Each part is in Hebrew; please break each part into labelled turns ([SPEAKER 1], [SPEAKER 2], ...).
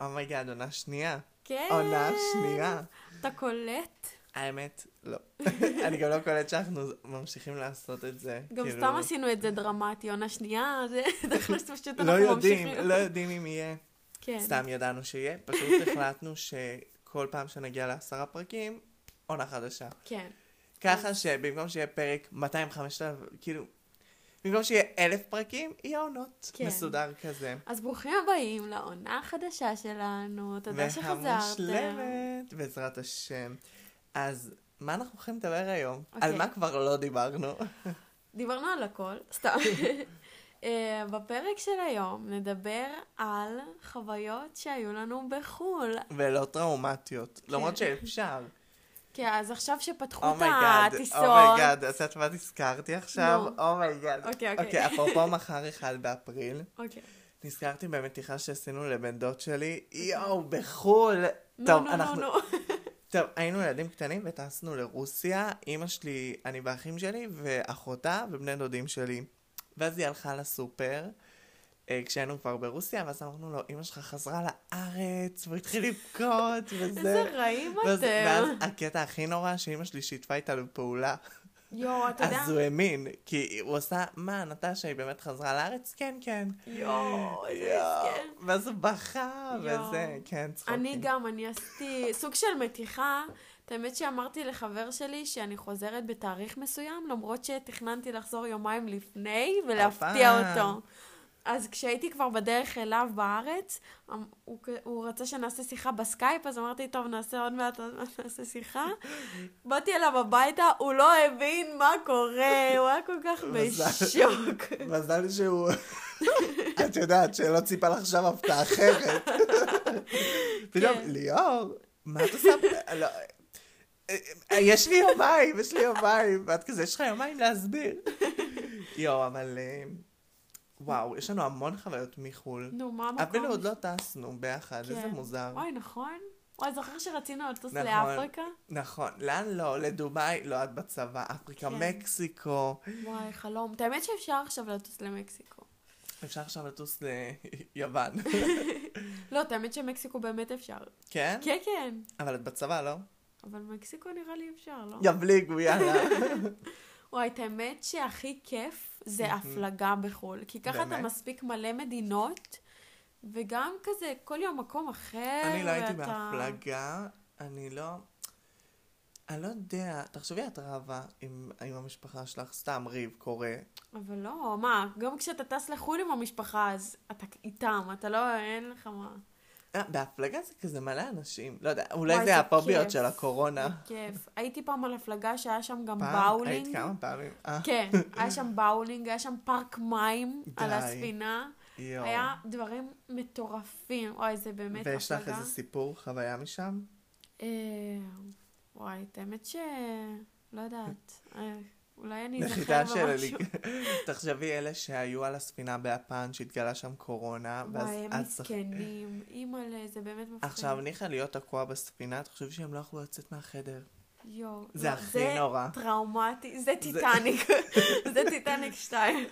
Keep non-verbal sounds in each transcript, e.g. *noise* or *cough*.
[SPEAKER 1] אומייגאד, עונה שנייה.
[SPEAKER 2] כן.
[SPEAKER 1] עונה שנייה.
[SPEAKER 2] אתה קולט?
[SPEAKER 1] האמת, לא. *laughs* אני גם לא קולט שאנחנו ממשיכים לעשות את זה.
[SPEAKER 2] גם
[SPEAKER 1] כאילו,
[SPEAKER 2] סתם עשינו את זה דרמטי, עונה שנייה, זה *laughs* זה פשוט אנחנו
[SPEAKER 1] לא יודעים,
[SPEAKER 2] ממשיכים.
[SPEAKER 1] לא יודעים אם יהיה.
[SPEAKER 2] כן.
[SPEAKER 1] סתם ידענו שיהיה, פשוט
[SPEAKER 2] *laughs*
[SPEAKER 1] החלטנו שכל פעם שנגיע לעשרה פרקים, עונה חדשה.
[SPEAKER 2] כן.
[SPEAKER 1] ככה שבמקום שיהיה פרק 205, כאילו, במקום שיהיה אלף פרקים, יהיה עונות.
[SPEAKER 2] כן.
[SPEAKER 1] מסודר כזה.
[SPEAKER 2] אז ברוכים הבאים לעונה החדשה שלנו, תודה שחזרתם.
[SPEAKER 1] והמושלמת, בעזרת השם. אז מה אנחנו הולכים לדבר היום?
[SPEAKER 2] אוקיי.
[SPEAKER 1] על מה כבר לא דיברנו?
[SPEAKER 2] דיברנו על הכל,
[SPEAKER 1] *laughs*
[SPEAKER 2] סתם. אה, בפרק של היום נדבר על חוויות שהיו לנו בחו"ל.
[SPEAKER 1] ולא טראומטיות. למרות שאפשר.
[SPEAKER 2] כן, אז עכשיו
[SPEAKER 1] Oh
[SPEAKER 2] שפתחו את
[SPEAKER 1] אומייגאד,
[SPEAKER 2] הטיסות,
[SPEAKER 1] אומייגאד, אז את מה נזכרתי עכשיו?
[SPEAKER 2] נו.
[SPEAKER 1] אומייגאד.
[SPEAKER 2] אוקיי, אוקיי.
[SPEAKER 1] אוקיי, אפרופו מחר אחד באפריל,
[SPEAKER 2] אוקיי.
[SPEAKER 1] נזכרתי במתיחה שעשינו לבן דוד שלי, יואו, בחו"ל.
[SPEAKER 2] אוקיי. נו,
[SPEAKER 1] טוב,
[SPEAKER 2] נו, נו,
[SPEAKER 1] אנחנו
[SPEAKER 2] נו.
[SPEAKER 1] טוב, היינו ילדים קטנים וטסנו לרוסיה, אימא שלי, אני ואחים שלי, ואחותה ובני דודים שלי. ואז היא הלכה לסופר, אה, כשהיינו כבר ברוסיה, ואז אמרנו לו, אימא שלך חזרה לארץ, והוא התחיל *laughs* לבכות,
[SPEAKER 2] איזה
[SPEAKER 1] וזה.
[SPEAKER 2] רעים
[SPEAKER 1] ואז, ואז
[SPEAKER 2] אתם.
[SPEAKER 1] הקטע הכי נורא, שאימא שלי שיתפה איתנו פעולה.
[SPEAKER 2] יואו, אתה יודע?
[SPEAKER 1] אז הוא האמין, כי הוא עשה, מה, נטשה, היא באמת חזרה לארץ? כן, כן.
[SPEAKER 2] יואו, איזה
[SPEAKER 1] יואו.
[SPEAKER 2] מסכן.
[SPEAKER 1] ואז הוא בכה,
[SPEAKER 2] יואו.
[SPEAKER 1] וזה, כן, צחוקים.
[SPEAKER 2] אני גם, אני עשיתי *laughs* סוג של מתיחה. את האמת שאמרתי לחבר שלי שאני חוזרת בתאריך מסוים, למרות שתכננתי לחזור יומיים לפני ולהפתיע
[SPEAKER 1] הפעם.
[SPEAKER 2] אותו. אז כשהייתי כבר בדרך אליו בארץ, אמ- הוא, כ- הוא רצה שנעשה שיחה בסקייפ, אז אמרתי, טוב, נעשה עוד מעט, עוד מעט נעשה
[SPEAKER 1] *laughs*
[SPEAKER 2] שיחה. באתי אליו הביתה, הוא לא הבין מה קורה, הוא היה כל כך
[SPEAKER 1] *laughs* מזל.
[SPEAKER 2] בשוק.
[SPEAKER 1] מזל שהוא... את יודעת, שלא ציפה לך שם הפתעה אחרת. פתאום, ליאור, מה את עושה? פה?" לא, אה, אה, יש לי יומיים, יש לי יומיים. ואת כזה, יש לך יומיים להסביר. יואו, אבל... אה, וואו, יש לנו המון חוויות מחו"ל.
[SPEAKER 2] נו, מה המקום?
[SPEAKER 1] אפילו עוד לא טסנו ביחד, איזה
[SPEAKER 2] כן.
[SPEAKER 1] מוזר.
[SPEAKER 2] אוי, נכון. אוי, זוכר שרצינו לטוס
[SPEAKER 1] נכון.
[SPEAKER 2] לאפריקה?
[SPEAKER 1] נכון, לאן לא? לדובאי? לא, את בצבא, אפריקה,
[SPEAKER 2] כן.
[SPEAKER 1] מקסיקו.
[SPEAKER 2] וואי, חלום. את האמת שאפשר עכשיו לטוס למקסיקו.
[SPEAKER 1] אפשר עכשיו לטוס ליוון.
[SPEAKER 2] לא, את האמת שמקסיקו באמת אפשר.
[SPEAKER 1] כן?
[SPEAKER 2] כן, כן.
[SPEAKER 1] אבל את בצבא, לא?
[SPEAKER 2] אבל מקסיקו נראה לי אפשר, לא?
[SPEAKER 1] יבליגו, *laughs* יאללה.
[SPEAKER 2] וואי, את האמת שהכי כיף זה הפלגה בחו"ל. כי ככה אתה
[SPEAKER 1] באמת?
[SPEAKER 2] מספיק מלא מדינות, וגם כזה כל יום מקום אחר.
[SPEAKER 1] אני לא הייתי
[SPEAKER 2] כן, ואתה-
[SPEAKER 1] בהפלגה, אני לא... אני לא יודע, תחשבי את רבה עם, עם המשפחה שלך, סתם ריב קורה.
[SPEAKER 2] אבל לא, מה, גם כשאתה טס לחו"ל עם המשפחה, אז אתה איתם, אתה לא, אין לך מה.
[SPEAKER 1] אה, בהפלגה זה כזה מלא אנשים, לא יודע, אולי
[SPEAKER 2] וואי,
[SPEAKER 1] זה
[SPEAKER 2] זה
[SPEAKER 1] הפוביות
[SPEAKER 2] כיף.
[SPEAKER 1] של הקורונה.
[SPEAKER 2] כיף. הייתי פעם על הפלגה שהיה שם גם
[SPEAKER 1] פעם, היית
[SPEAKER 2] באולינג.
[SPEAKER 1] כמה פעמים? אה,
[SPEAKER 2] כן, היה שם באולינג, היה שם פארק מים על
[SPEAKER 1] די.
[SPEAKER 2] הספינה.
[SPEAKER 1] יואו.
[SPEAKER 2] כן, היה דברים מטורפים. אוי, זה באמת
[SPEAKER 1] ויש לך
[SPEAKER 2] הפלגה.
[SPEAKER 1] איזה סיפור, חוויה משם?
[SPEAKER 2] אה, וואי, את האמת ש... לא יודעת. אה, אולי אני אזכר
[SPEAKER 1] נחיתה של
[SPEAKER 2] במשהו.
[SPEAKER 1] אלי. *laughs* תחשבי, אלה שהיו על הספינה ביפן, שהתגלה שם קורונה, ואז
[SPEAKER 2] וואי, הם
[SPEAKER 1] את שח-
[SPEAKER 2] מסכנים. אימא'לה, זה באמת מפחיד.
[SPEAKER 1] עכשיו, ניחא להיות תקוע בספינה, תחשבי שהם לא יכלו לצאת מהחדר.
[SPEAKER 2] יואו.
[SPEAKER 1] זה
[SPEAKER 2] לא,
[SPEAKER 1] הכי נורא.
[SPEAKER 2] זה טראומטי. זה טיטניק.
[SPEAKER 1] *laughs*
[SPEAKER 2] זה טיטניק 2.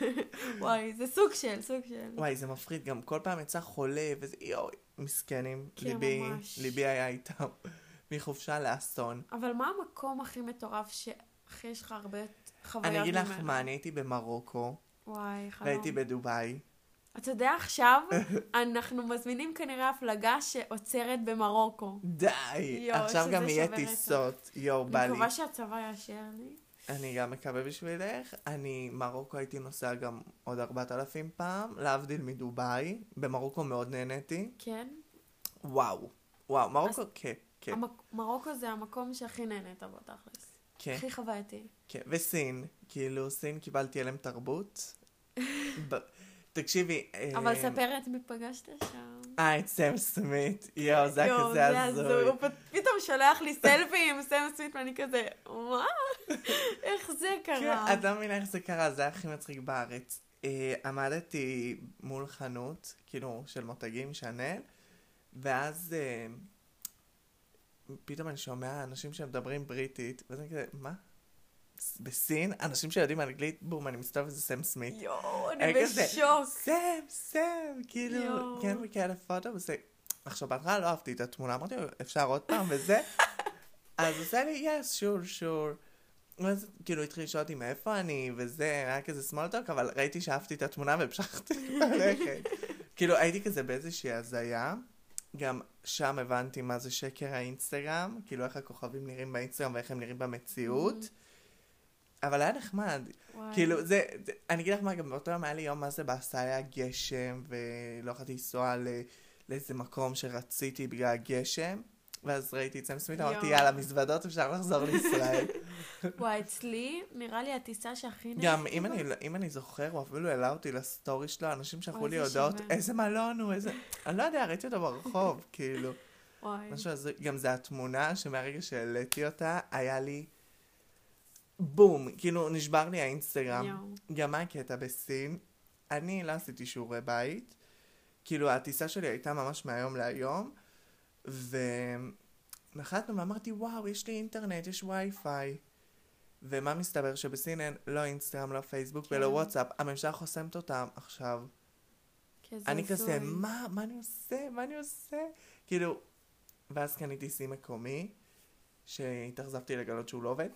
[SPEAKER 2] וואי, זה סוג של, סוג של.
[SPEAKER 1] וואי, זה מפחיד, גם כל פעם יצא חולה, וזה יואו, מסכנים.
[SPEAKER 2] כן,
[SPEAKER 1] ליבי,
[SPEAKER 2] ממש.
[SPEAKER 1] ליבי היה איתם. *laughs* מחופשה לאסון.
[SPEAKER 2] אבל מה המקום הכי מטורף שהכי יש לך הרבה חוויות
[SPEAKER 1] אני
[SPEAKER 2] ממנו?
[SPEAKER 1] אגיד לך מה, אני הייתי במרוקו,
[SPEAKER 2] וואי, חלום.
[SPEAKER 1] והייתי בדובאי.
[SPEAKER 2] אתה יודע, עכשיו אנחנו מזמינים כנראה הפלגה שעוצרת במרוקו.
[SPEAKER 1] די!
[SPEAKER 2] יואו,
[SPEAKER 1] עכשיו
[SPEAKER 2] שזה
[SPEAKER 1] גם יהיה
[SPEAKER 2] שובר
[SPEAKER 1] טיסות. יואו, בא
[SPEAKER 2] אני
[SPEAKER 1] לי.
[SPEAKER 2] מקווה שהצבא יאשר לי.
[SPEAKER 1] אני גם מקווה בשבילך. אני, מרוקו הייתי נוסע גם עוד 4,000 פעם, להבדיל מדובאי. במרוקו מאוד נהניתי.
[SPEAKER 2] כן?
[SPEAKER 1] וואו. וואו, מרוקו, כן, כן,
[SPEAKER 2] המק- מרוקו זה המקום שהכי נהנית בו, תכלס.
[SPEAKER 1] כן.
[SPEAKER 2] הכי חווייתי.
[SPEAKER 1] כן, וסין, כאילו סין קיבלתי עליהם
[SPEAKER 2] *laughs*
[SPEAKER 1] תרבות. ב- תקשיבי, אה,
[SPEAKER 2] אבל ספר את מי פגשת שם.
[SPEAKER 1] אה, את סם סמית, יואו, זה היה
[SPEAKER 2] יואו,
[SPEAKER 1] כזה
[SPEAKER 2] הזוי.
[SPEAKER 1] הזוי.
[SPEAKER 2] הוא פ- פתאום שולח לי סלפי עם סם סמית, ואני כזה, מה? איך זה קרה?
[SPEAKER 1] כן, את לא מבינה איך זה קרה, זה היה הכי מצחיק בארץ. אה, עמדתי מול חנות, כאילו, של מותגים, שאנל, ואז אה, פתאום אני שומע אנשים שמדברים בריטית, ואז אני כזה, מה? בסין? אנשים שיודעים אנגלית, בום, אני מסתובב וזה סם סמית.
[SPEAKER 2] יואו, אני
[SPEAKER 1] היה כזה,
[SPEAKER 2] בשוק.
[SPEAKER 1] סם, סם, כאילו,
[SPEAKER 2] יואו.
[SPEAKER 1] כן, we can't afford it, וזה, עכשיו, בהתחלה לא אהבתי את התמונה, אמרתי לו, אפשר עוד פעם וזה? אז הוא עושה לי, yes, sure, sure. ואז כאילו התחיל לשאול אותי מאיפה אני, וזה, היה כזה סמולטוק, אבל ראיתי שאהבתי את התמונה והמשכתי *laughs* ללכת. כאילו, הייתי כזה באיזושהי הזיה. גם שם הבנתי מה זה שקר האינסטגרם, כאילו איך הכוכבים נראים באינסטגרם ואיך הם נראים
[SPEAKER 2] Mm.
[SPEAKER 1] במציאות. אבל היה נחמד.
[SPEAKER 2] וואי.
[SPEAKER 1] כאילו, זה, זה, אני אגיד לך מה, גם באותו יום היה לי יום מה זה בעשה היה גשם, ולא יכולתי לנסוע ל- לאיזה מקום שרציתי בגלל הגשם, ואז ראיתי את סם סמית, אמרתי,
[SPEAKER 2] יואו.
[SPEAKER 1] יאללה, מזוודות, אפשר לחזור
[SPEAKER 2] *laughs*
[SPEAKER 1] לישראל.
[SPEAKER 2] וואי, אצלי, נהייתה לי הטיסה שהכי
[SPEAKER 1] גם
[SPEAKER 2] נהניתי
[SPEAKER 1] אם
[SPEAKER 2] בה.
[SPEAKER 1] אני, לא- אם אני זוכר, הוא אפילו העלה אותי לסטורי שלו, אנשים שלחו
[SPEAKER 2] אוי,
[SPEAKER 1] לי
[SPEAKER 2] זה
[SPEAKER 1] הודעות,
[SPEAKER 2] שווה.
[SPEAKER 1] איזה מלון הוא, איזה... אני לא יודע, ראיתי אותו
[SPEAKER 2] *laughs*
[SPEAKER 1] ברחוב, כאילו.
[SPEAKER 2] כן. וואי.
[SPEAKER 1] משהו הזוי. גם זה התמונה שמהרגע שהעליתי אותה, היה לי בום, כאילו נשבר לי האינסטגרם.
[SPEAKER 2] יואו.
[SPEAKER 1] גם מה הקטע בסין? אני לא עשיתי שיעורי בית, כאילו הטיסה שלי הייתה ממש מהיום להיום, ונחתנו ואמרתי, וואו, יש לי אינטרנט, יש וי-פיי. ומה מסתבר שבסין אין לא אינסטגרם, לא פייסבוק ולא
[SPEAKER 2] כן.
[SPEAKER 1] וואטסאפ, הממשלה חוסמת אותם עכשיו.
[SPEAKER 2] כזה
[SPEAKER 1] אני כזה,
[SPEAKER 2] הזוי.
[SPEAKER 1] מה, מה אני עושה? מה אני עושה? כאילו, ואז קניתי סי מקומי, שהתאכזבתי לגלות שהוא לא
[SPEAKER 2] *laughs*
[SPEAKER 1] עובד.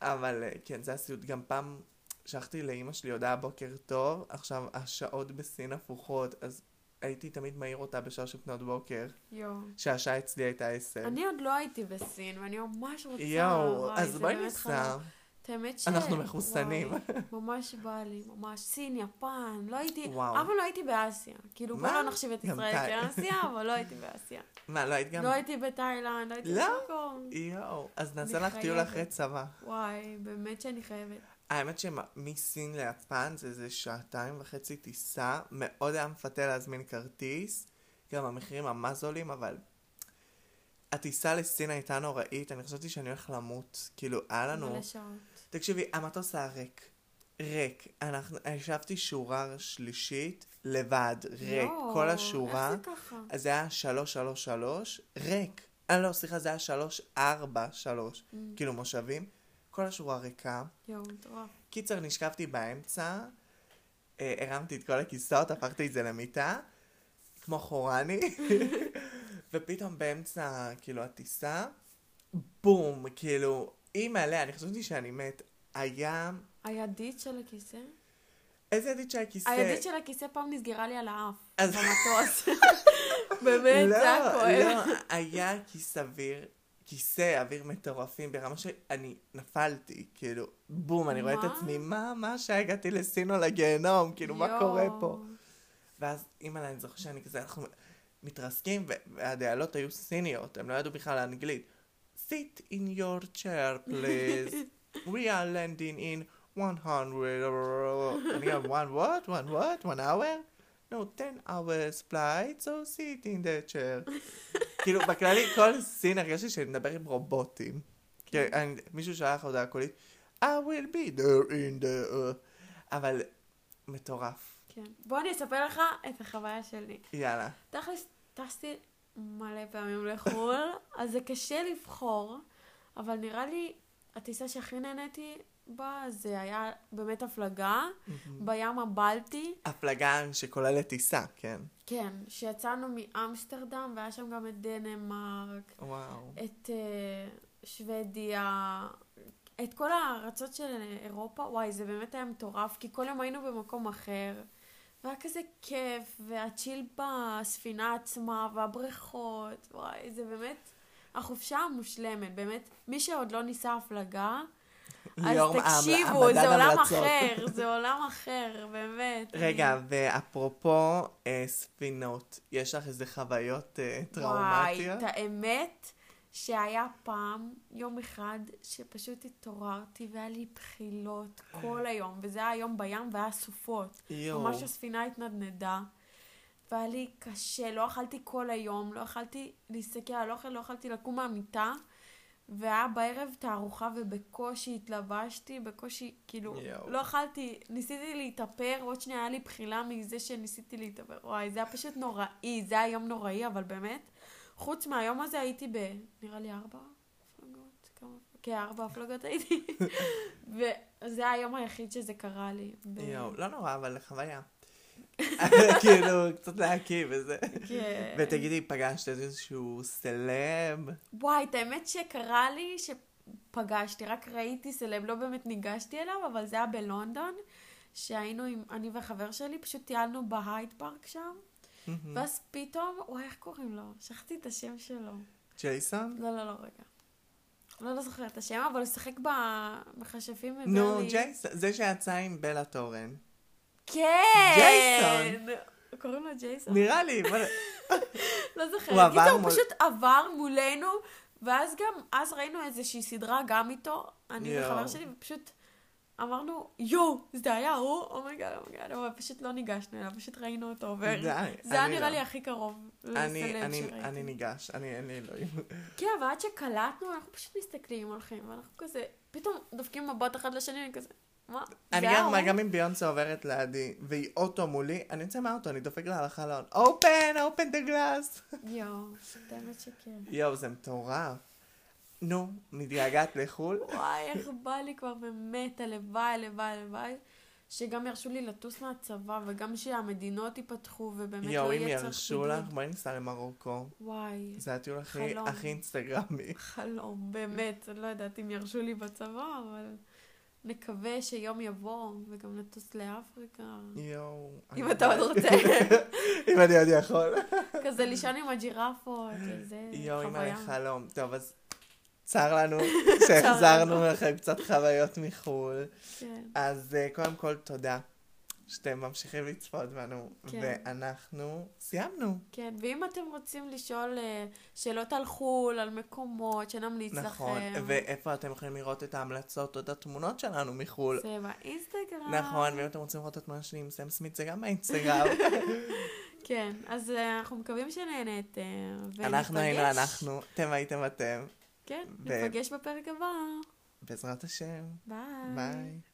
[SPEAKER 1] אבל אה, כן, זה הסיוט. גם פעם שלחתי לאימא שלי הודעה בוקר טוב, עכשיו השעות בסין הפוכות, אז הייתי תמיד מעיר אותה בשלוש לפנות בוקר,
[SPEAKER 2] יואו.
[SPEAKER 1] שהשעה אצלי הייתה עשר.
[SPEAKER 2] אני עוד לא הייתי בסין, ואני ממש רוצה...
[SPEAKER 1] יואו,
[SPEAKER 2] וואי,
[SPEAKER 1] אז
[SPEAKER 2] זה
[SPEAKER 1] בואי
[SPEAKER 2] באמת
[SPEAKER 1] ניסע.
[SPEAKER 2] את האמת ש...
[SPEAKER 1] אנחנו מחוסנים.
[SPEAKER 2] וואי, ממש בא לי, ממש. סין, יפן, לא הייתי...
[SPEAKER 1] *laughs* וואו.
[SPEAKER 2] אבל לא הייתי באסיה. כאילו, בוא
[SPEAKER 1] מה?
[SPEAKER 2] לא נחשיב את
[SPEAKER 1] גם
[SPEAKER 2] ישראל
[SPEAKER 1] תאי- *laughs*
[SPEAKER 2] כאסיה, אבל לא הייתי באסיה.
[SPEAKER 1] מה, לא היית גם?
[SPEAKER 2] לא הייתי בתאילנד, לא הייתי
[SPEAKER 1] לא?
[SPEAKER 2] במקום.
[SPEAKER 1] יואו, אז נעשה
[SPEAKER 2] אני
[SPEAKER 1] לך טיול
[SPEAKER 2] חייבת.
[SPEAKER 1] אחרי צבא.
[SPEAKER 2] וואי, באמת שאני חייבת.
[SPEAKER 1] האמת שמסין ליפן זה איזה שעתיים וחצי טיסה, מאוד היה מפתה להזמין כרטיס, גם המחירים ממש זולים, אבל הטיסה לסין הייתה נוראית, אני חשבתי שאני הולך למות, כאילו, היה לנו...
[SPEAKER 2] מלא שעות.
[SPEAKER 1] תקשיבי, המטוס היה ריק, ריק. אנחנו, ישבתי שורה שלישית, לבד, ריק,
[SPEAKER 2] יואו,
[SPEAKER 1] כל השורה.
[SPEAKER 2] איך זה ככה?
[SPEAKER 1] אז זה היה 333, ריק. אה, לא, סליחה, זה היה 343,
[SPEAKER 2] Mm.
[SPEAKER 1] כאילו מושבים. כל השורה ריקה.
[SPEAKER 2] יואו, מטורף.
[SPEAKER 1] קיצר, נשכבתי באמצע, אה, הרמתי את כל הכיסאות, הפכתי את זה למיטה, כמו
[SPEAKER 2] *laughs*
[SPEAKER 1] חורני, ופתאום באמצע, כאילו, הטיסה, בום, כאילו, אימא'לה, אני חשבתי שאני מת. היה...
[SPEAKER 2] הידית של הכיסא?
[SPEAKER 1] איזה ידית של הכיסא?
[SPEAKER 2] הידית של הכיסא פעם נסגרה לי על האף.
[SPEAKER 1] אז- *laughs*
[SPEAKER 2] במטוס. באמת,
[SPEAKER 1] לא,
[SPEAKER 2] זה היה כואב. *laughs*
[SPEAKER 1] לא, היה כיס אוויר, כיסא אוויר מטורפים ברמה שאני נפלתי, כאילו, בום, אני רואה את
[SPEAKER 2] מה?
[SPEAKER 1] עצמי, מה, מה שהגעתי לסין או לגיהנום, כאילו, מה קורה פה?
[SPEAKER 2] יואו.
[SPEAKER 1] ואז אימא'לה, אני זוכר שאני כזה, אנחנו מתרסקים, ו- והדיילות היו סיניות, הם לא ידעו בכלל אנגלית. sit in your chair please, we are landing in 100, אני גם one what, one what, one hour, no 10 hours flight, so sit in the chair. כאילו, בכללי, כל סין הרגשתי שאני מדבר עם רובוטים. כן, אני- מישהו שלח הודעה קולית, I will be there in the... אבל מטורף,
[SPEAKER 2] כן. בוא אני אספר לך את החוויה שלי.
[SPEAKER 1] יאללה.
[SPEAKER 2] תכלס, טסתי מלא
[SPEAKER 1] *laughs*
[SPEAKER 2] פעמים לחו"ל, אז זה קשה לבחור, אבל נראה לי הטיסה שהכי נהניתי בה זה היה באמת הפלגה,
[SPEAKER 1] Mm.
[SPEAKER 2] בים הבלטי,
[SPEAKER 1] הפלגה שכוללת טיסה, כן.
[SPEAKER 2] כן, שיצאנו מאמסטרדם והיה שם גם את דנמרק,
[SPEAKER 1] וואו.
[SPEAKER 2] את אה, שוודיה, את כל הארצות של אירופה, וואי, זה באמת היה מטורף, כי כל יום היינו במקום אחר. והיה כזה כיף, והצ'יל בספינה עצמה, והבריכות, וואי, זה באמת החופשה המושלמת, באמת. מי שעוד לא ניסה הפלגה, אז
[SPEAKER 1] ליאור,
[SPEAKER 2] תקשיבו,
[SPEAKER 1] אה, המדד
[SPEAKER 2] זה עולם
[SPEAKER 1] המלצות.
[SPEAKER 2] אחר, זה עולם אחר, באמת.
[SPEAKER 1] רגע,
[SPEAKER 2] אני-
[SPEAKER 1] ואפרופו אה, ספינות, יש לך איזה חוויות אה, טראומטיות?
[SPEAKER 2] וואי, את האמת שהיה פעם, יום אחד, שפשוט התעוררתי והיה לי בחילות כל היום, וזה היה יום בים והיה סופות.
[SPEAKER 1] יואו.
[SPEAKER 2] ממש הספינה התנדנדה, והיה לי קשה, לא אכלתי כל היום, לא יכלתי להסתכל על אוכל, לא יכלתי לקום מהמיטה, והיה בערב תערוכה ובקושי התלבשתי, בקושי, כאילו,
[SPEAKER 1] יואו.
[SPEAKER 2] לא אכלתי, ניסיתי להתאפר, עוד שנייה היה לי בחילה מזה שניסיתי להתאפר. וואי, זה היה פשוט נוראי, זה היה יום נוראי, אבל באמת, חוץ מהיום הזה הייתי ב... נראה לי ארבע הפלגות, כמה... כארבע
[SPEAKER 1] *laughs*
[SPEAKER 2] הפלגות הייתי, וזה היה היום היחיד שזה קרה לי. ב-
[SPEAKER 1] יואו, לא נורא, אבל חוויה. *laughs* כאילו, קצת להקים וזה.
[SPEAKER 2] כן.
[SPEAKER 1] ותגידי, פגשת איזשהו סלם?
[SPEAKER 2] וואי, את האמת שקרה לי שפגשתי, רק ראיתי סלב, לא באמת ניגשתי אליו, אבל זה היה בלונדון, שהיינו עם, אני והחבר שלי, פשוט טיילנו בהייד פארק שם,
[SPEAKER 1] Mm.
[SPEAKER 2] ואז פתאום, וואי, איך קוראים לו? שכחתי את השם שלו.
[SPEAKER 1] ג'ייסון?
[SPEAKER 2] לא, לא, לא, רגע. לא, לא זוכרת את השם, אבל הוא שיחק במכשפים מברלי.
[SPEAKER 1] נו, ג'ייסון, זה שיצא עם בלה תורן.
[SPEAKER 2] כן!
[SPEAKER 1] ג'ייסון.
[SPEAKER 2] קוראים לו ג'ייסון?
[SPEAKER 1] נראה לי, בוא...
[SPEAKER 2] לא זוכרת.
[SPEAKER 1] הוא עבר
[SPEAKER 2] קיצור, הוא
[SPEAKER 1] מול-
[SPEAKER 2] פשוט עבר מולנו, ואז גם, אז ראינו איזושהי סדרה גם איתו, אני
[SPEAKER 1] יואו.
[SPEAKER 2] וחבר שלי, ופשוט אמרנו, יואו, זה היה הוא, אומייגאד, אומייגאד, אבל פשוט לא ניגשנו אליו, פשוט ראינו אותו עובר.
[SPEAKER 1] די,
[SPEAKER 2] זה היה
[SPEAKER 1] אני
[SPEAKER 2] נראה
[SPEAKER 1] לא.
[SPEAKER 2] לי הכי קרוב
[SPEAKER 1] אני-
[SPEAKER 2] לסלב
[SPEAKER 1] אני- אני
[SPEAKER 2] שראיתי.
[SPEAKER 1] ניגש, אני לא- אין לי אלוהים.
[SPEAKER 2] כן, אבל עד שקלטנו, אנחנו פשוט מסתכלים, הולכים, ואנחנו כזה, פתאום דופקים מבט אחד לשני, אני כזה, מה? זה
[SPEAKER 1] אני
[SPEAKER 2] היה
[SPEAKER 1] גם,
[SPEAKER 2] הוא?"
[SPEAKER 1] גם אם ביונסה עוברת לידי, והיא אוטו מולי, אני יוצא מהאוטו, אני דופק לה על החלון, אופן, אופן דה גלאס.
[SPEAKER 2] יואו, את האמת שכן.
[SPEAKER 1] יואו, זה מטורף. נו, מתגעגעת לחו"ל?
[SPEAKER 2] וואי, איך בא לי כבר באמת, הלוואי, הלוואי, הלוואי, שגם ירשו לי לטוס מהצבא, וגם שהמדינות ייפתחו, ובאמת לא
[SPEAKER 1] יואו, אם
[SPEAKER 2] יהיה צריך
[SPEAKER 1] ירשו
[SPEAKER 2] בידוד.
[SPEAKER 1] לך, בואי ניסע למרוקו.
[SPEAKER 2] וואי,
[SPEAKER 1] זה הטיול הכי,
[SPEAKER 2] חלום.
[SPEAKER 1] הכי אינסטגרמי.
[SPEAKER 2] חלום, באמת, אני לא יודעת אם ירשו לי בצבא, אבל נקווה שיום יבוא, וגם לטוס לאפריקה.
[SPEAKER 1] יואו.
[SPEAKER 2] אם
[SPEAKER 1] אני-
[SPEAKER 2] אתה עוד רוצה,
[SPEAKER 1] *laughs* אם אני עוד יכול.
[SPEAKER 2] כזה לישון עם הג'ירפות, וזה
[SPEAKER 1] יואו, אם
[SPEAKER 2] חוויה.
[SPEAKER 1] אני חלום. טוב, אז צר
[SPEAKER 2] *laughs*
[SPEAKER 1] לנו שהחזרנו לכם קצת חוויות מחו"ל.
[SPEAKER 2] כן.
[SPEAKER 1] אז אה, קודם כל, תודה שאתם ממשיכים לצפות בנו,
[SPEAKER 2] כן.
[SPEAKER 1] ואנחנו סיימנו.
[SPEAKER 2] כן, ואם אתם רוצים לשאול אה, שאלות על חו"ל, על מקומות, שנמליץ לכם.
[SPEAKER 1] נכון, ואיפה אתם יכולים לראות את ההמלצות או את התמונות שלנו מחו"ל.
[SPEAKER 2] זה באינסטגרם.
[SPEAKER 1] נכון, ואם אתם רוצים לראות את התמונה שלי עם סם סמית, זה גם
[SPEAKER 2] *laughs*
[SPEAKER 1] באינסטגרם.
[SPEAKER 2] כן, אז אה, אנחנו מקווים שנהנתם. וניפגש.
[SPEAKER 1] אנחנו היינו אנחנו, אתם הייתם אתם,
[SPEAKER 2] כן,
[SPEAKER 1] ו-
[SPEAKER 2] ניפגש בפרק הבא.
[SPEAKER 1] בעזרת השם.
[SPEAKER 2] ביי.
[SPEAKER 1] ביי.